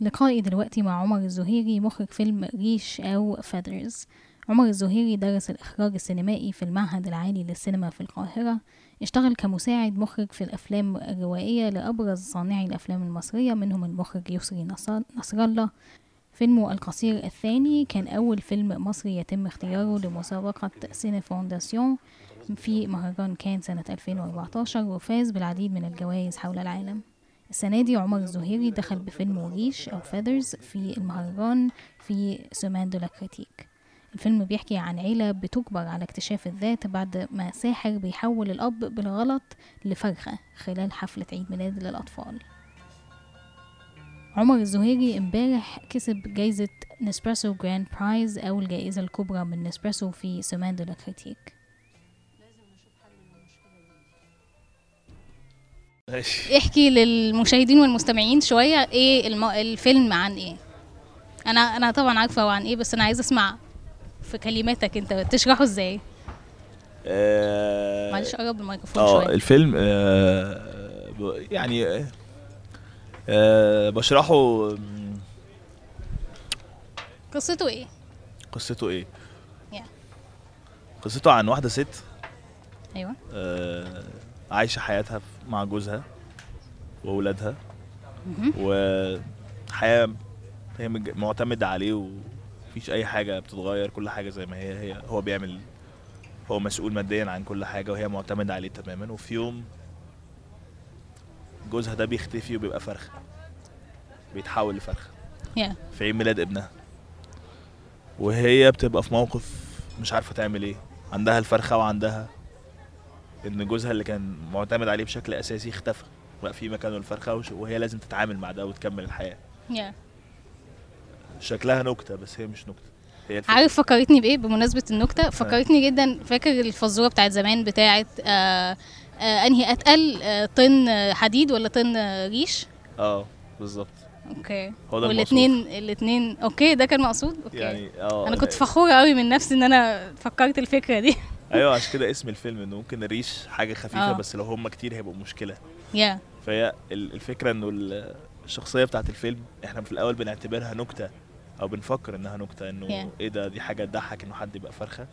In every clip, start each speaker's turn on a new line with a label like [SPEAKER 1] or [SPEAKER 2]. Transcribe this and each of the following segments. [SPEAKER 1] لقائي دلوقتي مع عمر الزهيري مخرج فيلم ريش أو فادرز عمر الزهيري درس الإخراج السينمائي في المعهد العالي للسينما في القاهرة اشتغل كمساعد مخرج في الأفلام الروائية لأبرز صانعي الأفلام المصرية منهم المخرج يسري نصر, نصر الله فيلمه القصير الثاني كان أول فيلم مصري يتم اختياره لمسابقة سيني فونداسيون في مهرجان كان سنة 2014 وفاز بالعديد من الجوائز حول العالم السنة دي عمر الزهيري دخل بفيلم وريش أو فيذرز في المهرجان في سومان دو لا كريتيك الفيلم بيحكي عن عيلة بتجبر على اكتشاف الذات بعد ما ساحر بيحول الأب بالغلط لفرخة خلال حفلة عيد ميلاد للأطفال عمر الزهيري امبارح كسب جايزة نسبرسو جراند برايز أو الجائزة الكبرى من نسبرسو في سومان دو لا كريتيك احكي للمشاهدين والمستمعين شويه ايه الم... الفيلم عن ايه انا انا طبعا عارفه هو عن ايه بس انا عايزه اسمع في كلماتك انت تشرحه ازاي
[SPEAKER 2] آه
[SPEAKER 1] معلش قرب الميكروفون
[SPEAKER 2] اه
[SPEAKER 1] شويه
[SPEAKER 2] الفيلم آه ب- يعني آه بشرحه م،
[SPEAKER 1] قصته ايه
[SPEAKER 2] قصته ايه
[SPEAKER 1] Yeah.
[SPEAKER 2] قصته عن واحده ست
[SPEAKER 1] ايوه
[SPEAKER 2] آه عايشه حياتها ف- مع جوزها واولادها
[SPEAKER 1] مهم.
[SPEAKER 2] وحياه هي مج- معتمده عليه ومفيش اي حاجه بتتغير كل حاجه زي ما هي هي هو بيعمل هو مسؤول ماديا عن كل حاجه وهي معتمده عليه تماما وفي يوم جوزها ده بيختفي وبيبقى فرخه بيتحول لفرخه
[SPEAKER 1] يا
[SPEAKER 2] في عيد ميلاد ابنها وهي بتبقى في موقف مش عارفه تعمل ايه عندها الفرخه وعندها ان جوزها اللي كان معتمد عليه بشكل اساسي اختفى بقى في مكانه الفرخه وش- وهي لازم تتعامل مع ده وتكمل الحياه
[SPEAKER 1] يا
[SPEAKER 2] شكلها نكته بس هي مش نكته هي الفكرة.
[SPEAKER 1] عارف فكرتني بايه بمناسبه
[SPEAKER 2] آه.
[SPEAKER 1] النكته فكرتني جدا فاكر الفزوره بتاعت زمان بتاعت آه آه انهي اتقل آه طن آه، حديد ولا طن آه، ريش
[SPEAKER 2] اه بالظبط
[SPEAKER 1] اوكي
[SPEAKER 2] هو ده
[SPEAKER 1] والاثنين الاثنين اوكي ده كان مقصود اوكي
[SPEAKER 2] يعني اه
[SPEAKER 1] انا كنت فخوره قوي من نفسي ان انا فكرت الفكره دي
[SPEAKER 2] ايوه عشان كده اسم الفيلم انه ممكن الريش حاجه خفيفه
[SPEAKER 1] آه.
[SPEAKER 2] بس لو هم كتير هيبقوا مشكله
[SPEAKER 1] يا
[SPEAKER 2] فهي ال- الفكره انه ال- الشخصيه بتاعت الفيلم احنا في الاول بنعتبرها نكته او بنفكر انها نكته انه
[SPEAKER 1] Yeah.
[SPEAKER 2] ايه ده دي حاجه تضحك انه حد يبقى فرخه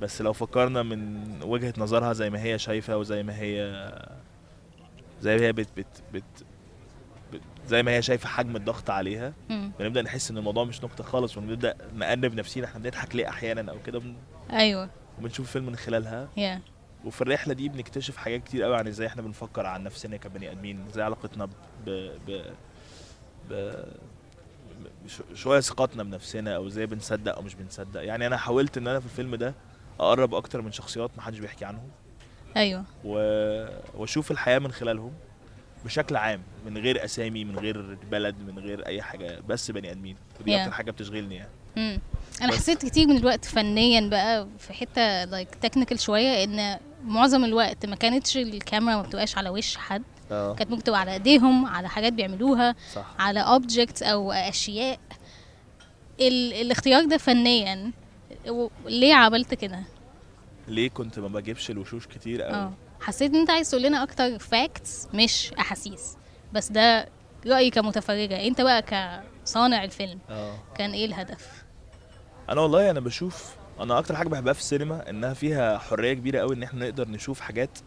[SPEAKER 2] بس لو فكرنا من وجهه نظرها زي ما هي شايفه وزي ما هي زي ما هي بت بت بت, بت زي ما هي شايفه حجم الضغط عليها
[SPEAKER 1] مم.
[SPEAKER 2] بنبدا نحس ان الموضوع مش نكته خالص ونبدا نأنب نفسينا احنا بنضحك ليه احيانا او كده وبن-
[SPEAKER 1] ايوه
[SPEAKER 2] وبنشوف الفيلم من خلالها
[SPEAKER 1] يا
[SPEAKER 2] وفي الرحله دي بنكتشف حاجات كتير قوي عن ازاي احنا بنفكر عن نفسنا كبني ادمين ازاي علاقتنا ب ب ب ب- شويه ثقتنا بنفسنا او ازاي بنصدق او مش بنصدق يعني انا حاولت ان انا في الفيلم ده اقرب اكتر من شخصيات محدش بيحكي عنهم
[SPEAKER 1] ايوه
[SPEAKER 2] و... واشوف الحياه من خلالهم بشكل عام من غير اسامي من غير بلد من غير اي حاجه بس بني ادمين ودي
[SPEAKER 1] Yeah.
[SPEAKER 2] اكتر حاجه بتشغلني يعني
[SPEAKER 1] مم. انا
[SPEAKER 2] بس.
[SPEAKER 1] Mm. حسيت كتير من الوقت فنيا بقى في حته لايك تكنيكال شويه ان معظم الوقت ما كانتش الكاميرا ما بتبقاش على وش حد
[SPEAKER 2] اه
[SPEAKER 1] كانت ممكن تبقى على ايديهم على حاجات بيعملوها
[SPEAKER 2] صح
[SPEAKER 1] على اوبجكتس او اشياء ال... الاختيار ده فنيا و... ليه عملت كده
[SPEAKER 2] ليه كنت ما بجيبش الوشوش كتير او
[SPEAKER 1] اه حسيت ان انت عايز تقول لنا اكتر فاكتس مش احاسيس بس ده رايي كمتفرجه انت بقى كصانع الفيلم
[SPEAKER 2] اه
[SPEAKER 1] كان ايه الهدف
[SPEAKER 2] انا والله انا بشوف انا اكتر حاجه بحبها في السينما انها فيها حريه كبيره قوي ان احنا نقدر نشوف حاجات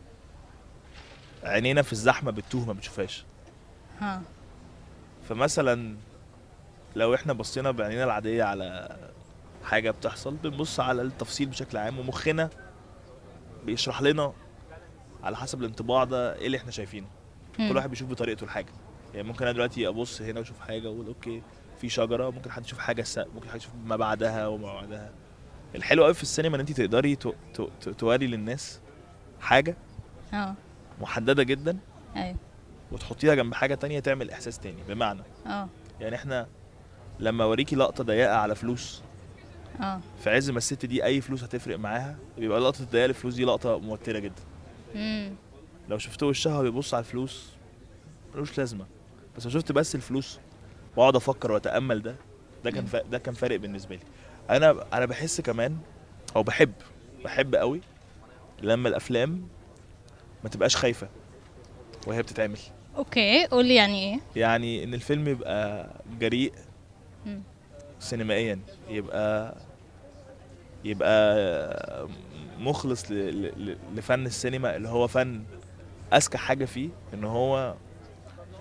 [SPEAKER 2] عينينا في الزحمه بتتوه ما بتشوفهاش
[SPEAKER 1] ها
[SPEAKER 2] فمثلا لو احنا بصينا بعينينا العاديه على حاجه بتحصل بنبص على التفصيل بشكل عام ومخنا بيشرح لنا على حسب الانطباع ده ايه اللي احنا شايفينه
[SPEAKER 1] مم.
[SPEAKER 2] كل واحد بيشوف بطريقته الحاجه يعني ممكن انا دلوقتي ابص هنا واشوف حاجه واقول اوكي في شجره ممكن حد يشوف حاجه السقف ممكن حد يشوف ما بعدها وما بعدها الحلو قوي في السينما ان انت تقدري تو- تو- تو- توري للناس حاجه
[SPEAKER 1] اه
[SPEAKER 2] محدده جدا
[SPEAKER 1] ايوه
[SPEAKER 2] وتحطيها جنب حاجه تانية تعمل احساس تاني بمعنى
[SPEAKER 1] اه
[SPEAKER 2] يعني احنا لما اوريكي لقطه ضيقه على فلوس
[SPEAKER 1] اه
[SPEAKER 2] في عز ما الست دي اي فلوس هتفرق معاها بيبقى لقطه ضيقه للفلوس دي لقطه موتره جدا
[SPEAKER 1] امم
[SPEAKER 2] لو شفت وشها بيبص على الفلوس ملوش لازمه بس لو شفت بس الفلوس واقعد افكر واتامل ده ده كان فا... ده كان فارق بالنسبه لي انا انا بحس كمان او بحب بحب قوي لما الافلام ما تبقاش خايفه وهي بتتعمل
[SPEAKER 1] اوكي قولي يعني ايه
[SPEAKER 2] يعني ان الفيلم يبقى جريء
[SPEAKER 1] مم.
[SPEAKER 2] سينمائيا يبقى يبقى مخلص ل... ل... ل- لفن السينما اللي هو فن اذكى حاجه فيه ان هو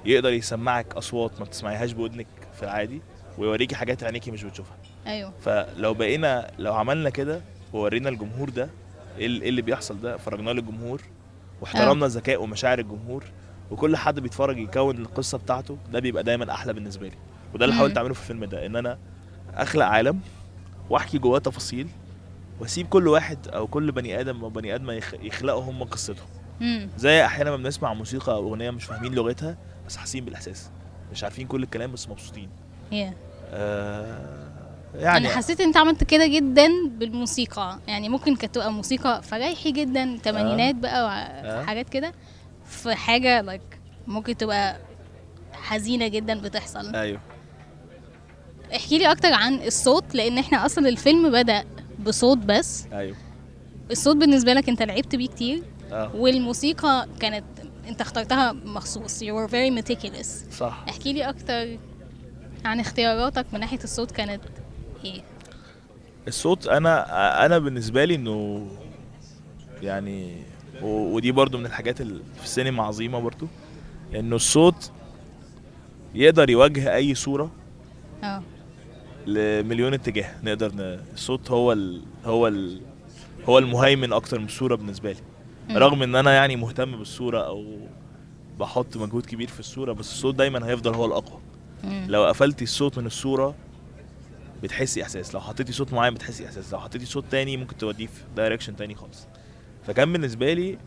[SPEAKER 2] يقدر يسمعك اصوات ما بتسمعيهاش باذنك في العادي ويوريكي حاجات عينيكي مش بتشوفها
[SPEAKER 1] ايوه
[SPEAKER 2] فلو بقينا لو عملنا كده وورينا الجمهور ده ايه ال- إيه اللي بيحصل ده فرجناه للجمهور واحترمنا ذكاء ومشاعر الجمهور وكل حد بيتفرج يكون القصه بتاعته ده بيبقى دايما احلى بالنسبه لي وده اللي
[SPEAKER 1] مم.
[SPEAKER 2] حاولت اعمله في الفيلم ده ان انا اخلق عالم واحكي جواه تفاصيل واسيب كل واحد او كل بني ادم او بني ادمه يخ- يخلقوا هم قصتهم
[SPEAKER 1] امم
[SPEAKER 2] زي احيانا ما بنسمع موسيقى او اغنيه مش فاهمين لغتها بس حاسين بالاحساس مش عارفين كل الكلام بس مبسوطين يعني
[SPEAKER 1] yeah.
[SPEAKER 2] آه
[SPEAKER 1] يعني
[SPEAKER 2] يعني
[SPEAKER 1] انا حسيت ان انت عملت كده جدا بالموسيقى يعني ممكن كانت تبقى موسيقى فرايحي جدا تمانينات بقى
[SPEAKER 2] آه.
[SPEAKER 1] وحاجات كده في حاجه like ممكن تبقى حزينه جدا بتحصل
[SPEAKER 2] ايوه
[SPEAKER 1] احكي لي اكتر عن الصوت لان احنا اصلا الفيلم بدا بصوت بس
[SPEAKER 2] ايوه
[SPEAKER 1] الصوت بالنسبه لك انت لعبت بيه كتير
[SPEAKER 2] اه
[SPEAKER 1] آه. والموسيقى كانت انت اخترتها مخصوص you were very meticulous
[SPEAKER 2] صح
[SPEAKER 1] احكي لي اكتر عن اختياراتك من ناحيه الصوت كانت ايه
[SPEAKER 2] الصوت انا انا بالنسبه لي انه يعني و- ودي برضو من الحاجات اللي في السينما عظيمه برضو انه الصوت يقدر يواجه اي صوره
[SPEAKER 1] اه
[SPEAKER 2] لمليون اتجاه نقدر ن... الصوت هو ال... هو ال... هو المهيمن اكتر من الصوره بالنسبه لي
[SPEAKER 1] مم.
[SPEAKER 2] رغم ان انا يعني مهتم بالصوره او بحط مجهود كبير في الصوره بس الصوت دايما هيفضل هو الاقوى
[SPEAKER 1] مم.
[SPEAKER 2] لو قفلتي الصوت من الصوره بتحسي احساس لو حطيتي صوت معين بتحسي احساس لو حطيتي صوت تاني ممكن توديه في دايركشن تاني خالص فكان بالنسبه لي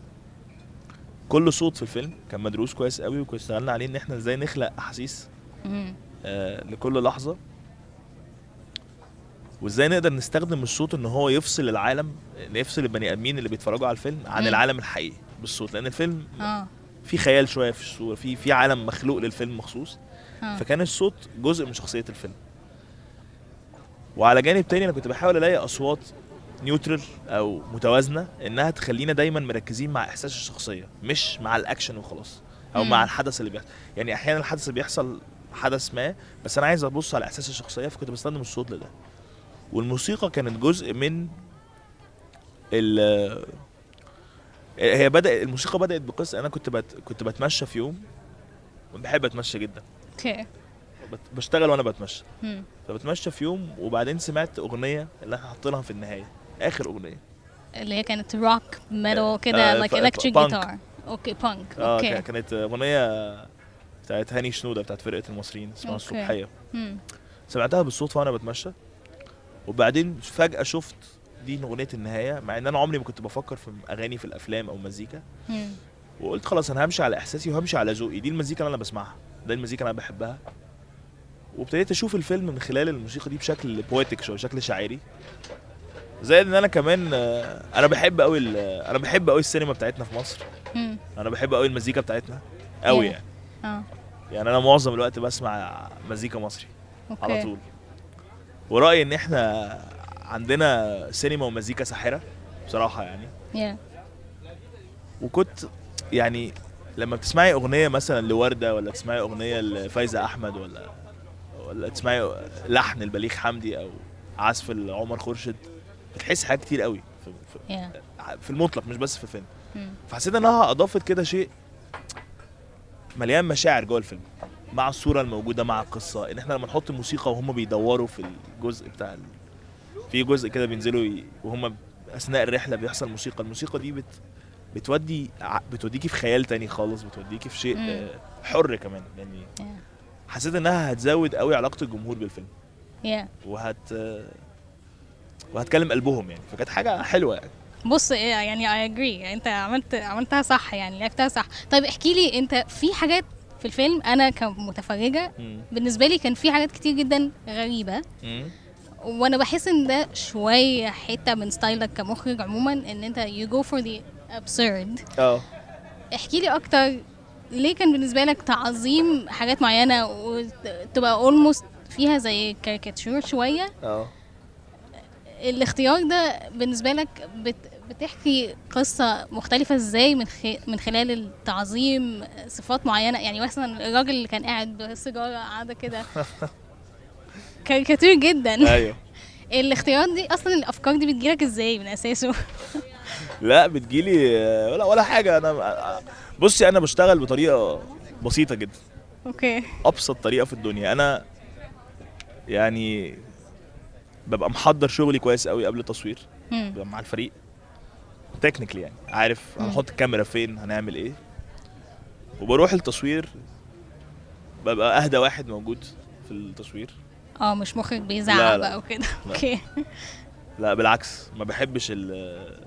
[SPEAKER 2] كل صوت في الفيلم كان مدروس كويس قوي وكنا اشتغلنا عليه ان احنا ازاي نخلق احاسيس
[SPEAKER 1] مم.
[SPEAKER 2] آه لكل لحظه وازاي نقدر نستخدم الصوت ان هو يفصل العالم يفصل البني ادمين اللي بيتفرجوا على الفيلم عن
[SPEAKER 1] مم.
[SPEAKER 2] العالم الحقيقي بالصوت لان الفيلم
[SPEAKER 1] اه
[SPEAKER 2] في خيال شويه في الصوره في في عالم مخلوق للفيلم مخصوص
[SPEAKER 1] اه
[SPEAKER 2] فكان الصوت جزء من شخصيه الفيلم وعلى جانب تاني انا كنت بحاول الاقي اصوات نيوترال او متوازنه انها تخلينا دايما مركزين مع احساس الشخصيه مش مع الاكشن وخلاص او
[SPEAKER 1] مم.
[SPEAKER 2] مع الحدث اللي بيحصل يعني احيانا الحدث اللي بيحصل حدث ما بس انا عايز ابص على احساس الشخصيه فكنت بستخدم الصوت لده والموسيقى كانت جزء من ال هي بدأ الموسيقى بدأت بقصة أنا كنت بت... كنت بتمشى في يوم وبحب أتمشى جدا
[SPEAKER 1] اوكي
[SPEAKER 2] بت- بشتغل وانا بتمشى
[SPEAKER 1] مم.
[SPEAKER 2] فبتمشى في يوم وبعدين سمعت اغنيه اللي احنا حاطينها في النهايه اخر اغنيه
[SPEAKER 1] اللي هي كانت روك ميتال
[SPEAKER 2] آه،
[SPEAKER 1] كده
[SPEAKER 2] ف-
[SPEAKER 1] لايك الكتريك
[SPEAKER 2] punk.
[SPEAKER 1] جيتار اوكي بانك
[SPEAKER 2] اه كا-
[SPEAKER 1] اوكي
[SPEAKER 2] كانت اغنيه بتاعت هاني شنوده بتاعت فرقه المصريين اسمها
[SPEAKER 1] أوكي.
[SPEAKER 2] الصبحيه
[SPEAKER 1] مم.
[SPEAKER 2] سمعتها بالصدفه وانا بتمشى وبعدين فجاه شفت دي اغنيه النهايه مع ان انا عمري ما كنت بفكر في اغاني في الافلام او مزيكا
[SPEAKER 1] مم.
[SPEAKER 2] وقلت خلاص انا همشي على احساسي وهمشي على ذوقي دي المزيكا اللي انا بسمعها ده المزيكا اللي انا بحبها وابتديت اشوف الفيلم من خلال الموسيقى دي بشكل بويتك شويه بشكل شاعري زائد ان انا كمان آه، انا بحب قوي انا بحب قوي السينما بتاعتنا في مصر
[SPEAKER 1] مم.
[SPEAKER 2] انا بحب قوي المزيكا بتاعتنا قوي
[SPEAKER 1] Yeah.
[SPEAKER 2] يعني
[SPEAKER 1] اه
[SPEAKER 2] يعني انا معظم الوقت بسمع مزيكا مصري
[SPEAKER 1] اوكي
[SPEAKER 2] على طول ورايي ان احنا عندنا سينما ومزيكا ساحره بصراحه يعني
[SPEAKER 1] yeah.
[SPEAKER 2] وكنت يعني لما بتسمعي اغنيه مثلا لورده ولا تسمعي اغنيه لفايزه احمد ولا ولا تسمعي لحن البليغ حمدي او عزف لعمر خورشيد بتحس حاجات كتير قوي في, في-
[SPEAKER 1] yeah.
[SPEAKER 2] في المطلق مش بس في الفيلم
[SPEAKER 1] مم.
[SPEAKER 2] فحسيت انها اضافت كده شيء مليان مشاعر جوه الفيلم مع الصوره الموجوده مع القصه ان احنا لما نحط موسيقى وهم بيدوروا في الجزء بتاع ال... في جزء كده بينزلوا ي... وهم اثناء الرحله بيحصل موسيقى الموسيقى دي بت... بتودي ع- بتوديكي في خيال تاني خالص بتوديكي في شيء
[SPEAKER 1] مم.
[SPEAKER 2] آه، حر كمان يعني
[SPEAKER 1] Yeah.
[SPEAKER 2] حسيت انها هتزود قوي علاقه الجمهور بالفيلم
[SPEAKER 1] yeah.
[SPEAKER 2] وهت آه، وهتكلم قلبهم يعني فكانت حاجه حلوه يعني
[SPEAKER 1] بص إيه، يعني اي اجري انت عملت عملتها صح يعني لعبتها صح طيب احكي لي انت في حاجات في الفيلم انا كمتفرجه
[SPEAKER 2] مم.
[SPEAKER 1] بالنسبه لي كان في حاجات كتير جدا غريبه
[SPEAKER 2] مم.
[SPEAKER 1] وانا بحس ان ده شويه حته من ستايلك كمخرج عموما ان انت you go for the absurd
[SPEAKER 2] اه
[SPEAKER 1] احكي لي اكتر ليه كان بالنسبه لك تعظيم حاجات معينه وتبقى اولموست فيها زي كاريكاتشور شويه
[SPEAKER 2] اه
[SPEAKER 1] الاختيار ده بالنسبه لك بت بتحكي قصة مختلفة ازاي من خي... من خلال التعظيم صفات معينة يعني مثلا الراجل اللي كان قاعد بالسيجارة قاعدة كده كاريكاتير جدا
[SPEAKER 2] ايوه
[SPEAKER 1] الاختيارات دي اصلا الافكار دي بتجيلك ازاي من اساسه
[SPEAKER 2] لا بتجيلي آه، ولا ولا حاجه انا بصي انا بشتغل بطريقه بسيطه جدا
[SPEAKER 1] اوكي
[SPEAKER 2] ابسط طريقه في الدنيا انا يعني ببقى محضر شغلي كويس قوي قبل التصوير
[SPEAKER 1] مم.
[SPEAKER 2] ببقى مع الفريق تكنيكلي يعني عارف
[SPEAKER 1] مم.
[SPEAKER 2] هنحط الكاميرا فين هنعمل ايه وبروح التصوير ببقى اهدى واحد موجود في التصوير
[SPEAKER 1] اه مش مخرج
[SPEAKER 2] لا،
[SPEAKER 1] بيزعق
[SPEAKER 2] لا.
[SPEAKER 1] بقى وكده
[SPEAKER 2] لا.
[SPEAKER 1] اوكي
[SPEAKER 2] لا بالعكس ما بحبش ال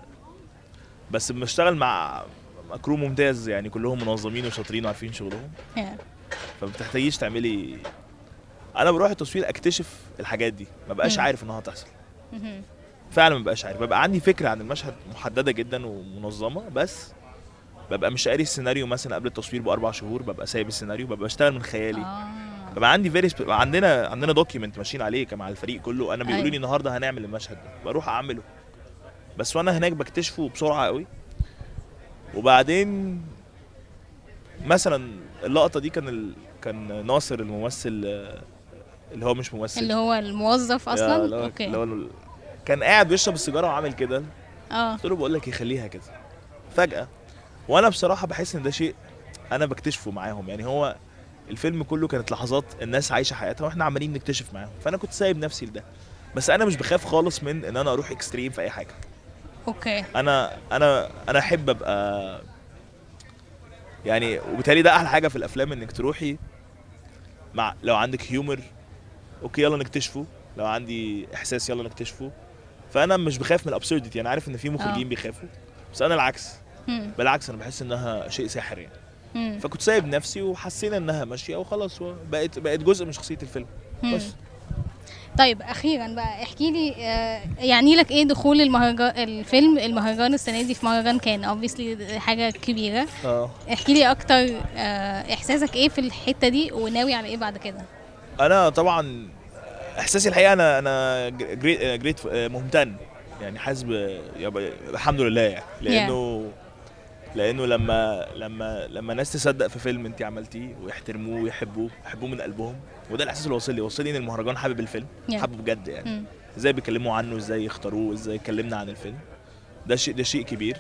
[SPEAKER 2] بس بشتغل مع مع كرو ممتاز يعني كلهم منظمين وشاطرين وعارفين شغلهم
[SPEAKER 1] يا.
[SPEAKER 2] فما بتحتاجيش تعملي انا بروح التصوير اكتشف الحاجات دي ما بقاش
[SPEAKER 1] مم.
[SPEAKER 2] عارف انها هتحصل
[SPEAKER 1] مهم.
[SPEAKER 2] فعلا ما بقاش عارف ببقى عندي فكره عن المشهد محدده جدا ومنظمه بس ببقى مش قاري السيناريو مثلا قبل التصوير باربع شهور ببقى سايب السيناريو ببقى بشتغل من خيالي
[SPEAKER 1] اه
[SPEAKER 2] ببقى عندي فيريس ببقى عندنا عندنا دوكيمنت ماشيين عليه مع الفريق كله انا بيقولوا
[SPEAKER 1] أيوة.
[SPEAKER 2] لي النهارده هنعمل المشهد ده بروح اعمله بس وانا هناك بكتشفه بسرعه قوي وبعدين مثلا اللقطه دي كان ال... كان ناصر الممثل آه، اللي هو مش ممثل
[SPEAKER 1] اللي هو الموظف
[SPEAKER 2] آه، اللي هو-
[SPEAKER 1] اصلا اوكي
[SPEAKER 2] اللي هو ال- كان قاعد بيشرب السيجاره وعامل كده
[SPEAKER 1] اه
[SPEAKER 2] قلت له بقول لك يخليها كده فجأة وانا بصراحة بحس ان ده شيء انا بكتشفه معاهم يعني هو الفيلم كله كانت لحظات الناس عايشة حياتها واحنا عمالين نكتشف معاهم فانا كنت سايب نفسي لده بس انا مش بخاف خالص من ان انا اروح اكستريم في اي حاجة
[SPEAKER 1] اوكي
[SPEAKER 2] انا انا انا احب ابقى يعني وبالتالي ده احلى حاجة في الافلام انك تروحي مع لو عندك هيومر اوكي يلا نكتشفه لو عندي احساس يلا نكتشفه فانا مش بخاف من الابسورديتي انا عارف ان في مخرجين بيخافوا بس انا العكس
[SPEAKER 1] مم.
[SPEAKER 2] بالعكس انا بحس انها شيء ساحر يعني
[SPEAKER 1] مم.
[SPEAKER 2] فكنت سايب نفسي وحسينا انها ماشيه وخلاص بقت بقت جزء من شخصيه الفيلم
[SPEAKER 1] مم.
[SPEAKER 2] بس
[SPEAKER 1] طيب اخيرا بقى احكي لي آه، يعني لك ايه دخول المهرجان الفيلم المهرجان السنه دي في مهرجان كان اوبفيسلي حاجه كبيره
[SPEAKER 2] اه
[SPEAKER 1] احكي لي اكتر آه، احساسك ايه في الحته دي وناوي على ايه بعد كده
[SPEAKER 2] انا طبعا احساسي الحقيقه انا انا جريت جريت آه، ممتن يعني حاسس ب- يبقى- الحمد لله يعني لانه لانه لما لما لما الناس تصدق في فيلم انت عملتيه ويحترموه ويحبوه يحبوه من قلبهم وده الاحساس اللي وصل لي وصل لي ان المهرجان حابب الفيلم
[SPEAKER 1] Yeah.
[SPEAKER 2] حابه بجد يعني
[SPEAKER 1] مم.
[SPEAKER 2] ازاي بيكلموا عنه ازاي يختاروه ازاي اتكلمنا عن الفيلم ده شيء ده شيء كبير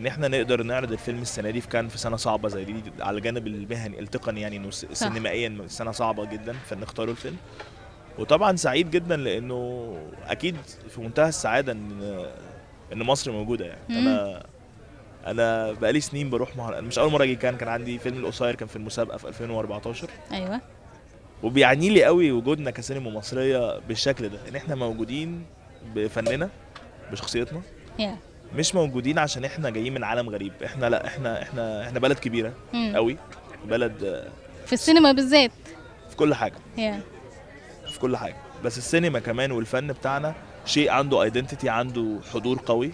[SPEAKER 2] ان احنا نقدر نعرض الفيلم السنه دي في كان في سنه صعبه زي دي على الجانب المهني التقني يعني انه س- سينمائيا سنه صعبه جدا فنختاروا الفيلم وطبعا سعيد جدا لانه اكيد في منتهى السعاده ان ان مصر موجوده
[SPEAKER 1] مم.
[SPEAKER 2] يعني انا انا بقالي سنين بروح مهر... مش اول مره اجي كان كان عندي فيلم القصير كان في المسابقه في 2014
[SPEAKER 1] ايوه
[SPEAKER 2] وبيعني لي قوي وجودنا كسينما مصريه بالشكل ده ان احنا موجودين بفننا بشخصيتنا
[SPEAKER 1] يا
[SPEAKER 2] مش موجودين عشان احنا جايين من عالم غريب احنا لا احنا احنا احنا بلد كبيره
[SPEAKER 1] مم.
[SPEAKER 2] قوي بلد آه،
[SPEAKER 1] في السينما بالذات
[SPEAKER 2] في كل حاجه
[SPEAKER 1] يا
[SPEAKER 2] في كل حاجه بس السينما كمان والفن بتاعنا شيء عنده ايدنتيتي عنده حضور قوي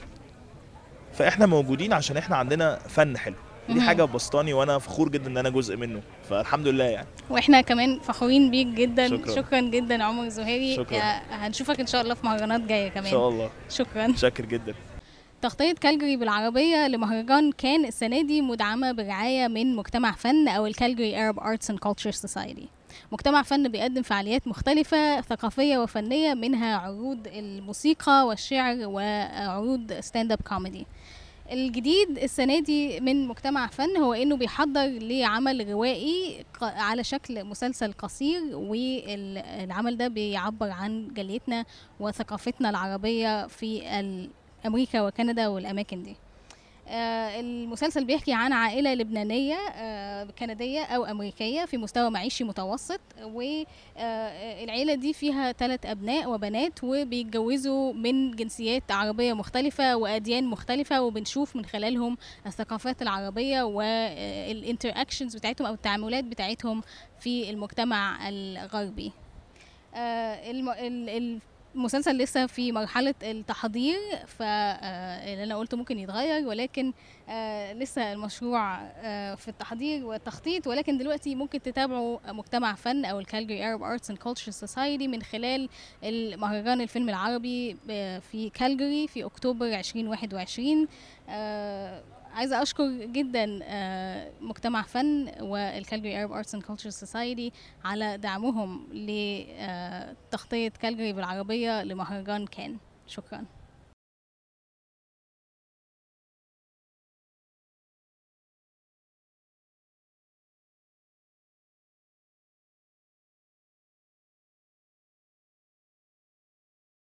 [SPEAKER 2] فاحنا موجودين عشان احنا عندنا فن حلو دي
[SPEAKER 1] مهم.
[SPEAKER 2] حاجه بسطاني وانا فخور جدا ان انا جزء منه فالحمد لله يعني
[SPEAKER 1] واحنا كمان فخورين بيك جدا
[SPEAKER 2] شكراً.
[SPEAKER 1] شكرا جدا عمر زهيري
[SPEAKER 2] شكراً.
[SPEAKER 1] آه، هنشوفك ان شاء الله في مهرجانات جايه
[SPEAKER 2] ان
[SPEAKER 1] كمان
[SPEAKER 2] شاء الله
[SPEAKER 1] شكرا
[SPEAKER 2] شاكر جدا
[SPEAKER 1] تغطية كالجري بالعربية لمهرجان كان السنة دي مدعمة برعاية من مجتمع فن أو الكالجري Arab Arts and Culture Society مجتمع فن بيقدم فعاليات مختلفة ثقافية وفنية منها عروض الموسيقى والشعر وعروض ستاند اب كوميدي الجديد السنة دي من مجتمع فن هو إنه بيحضر لعمل روائي ق- على شكل مسلسل قصير والعمل ده بيعبر عن جاليتنا وثقافتنا العربية في ال- امريكا وكندا والاماكن دي آه، المسلسل بيحكي عن عائله لبنانيه آه، كنديه او امريكيه في مستوى معيشي متوسط والعيله دي فيها ثلاث ابناء وبنات وبيتجوزوا من جنسيات عربيه مختلفه واديان مختلفه وبنشوف من خلالهم الثقافات العربيه والانتراكشنز بتاعتهم او التعاملات بتاعتهم في المجتمع الغربي آه، الم- ال- ال- المسلسل لسه في مرحلة التحضير فاللي آه، أنا قلته ممكن يتغير ولكن آه، لسه المشروع آه، في التحضير والتخطيط ولكن دلوقتي ممكن تتابعوا مجتمع فن أو الكالجري Arab Arts and Culture Society من خلال المهرجان الفيلم العربي ب- في كالجري في أكتوبر 2021 آه، عايزة أشكر جدا آه، مجتمع فن والكالجري Arab Arts and Culture Society على آه، دعمهم لتغطية كالجري بالعربية لمهرجان كان شكرا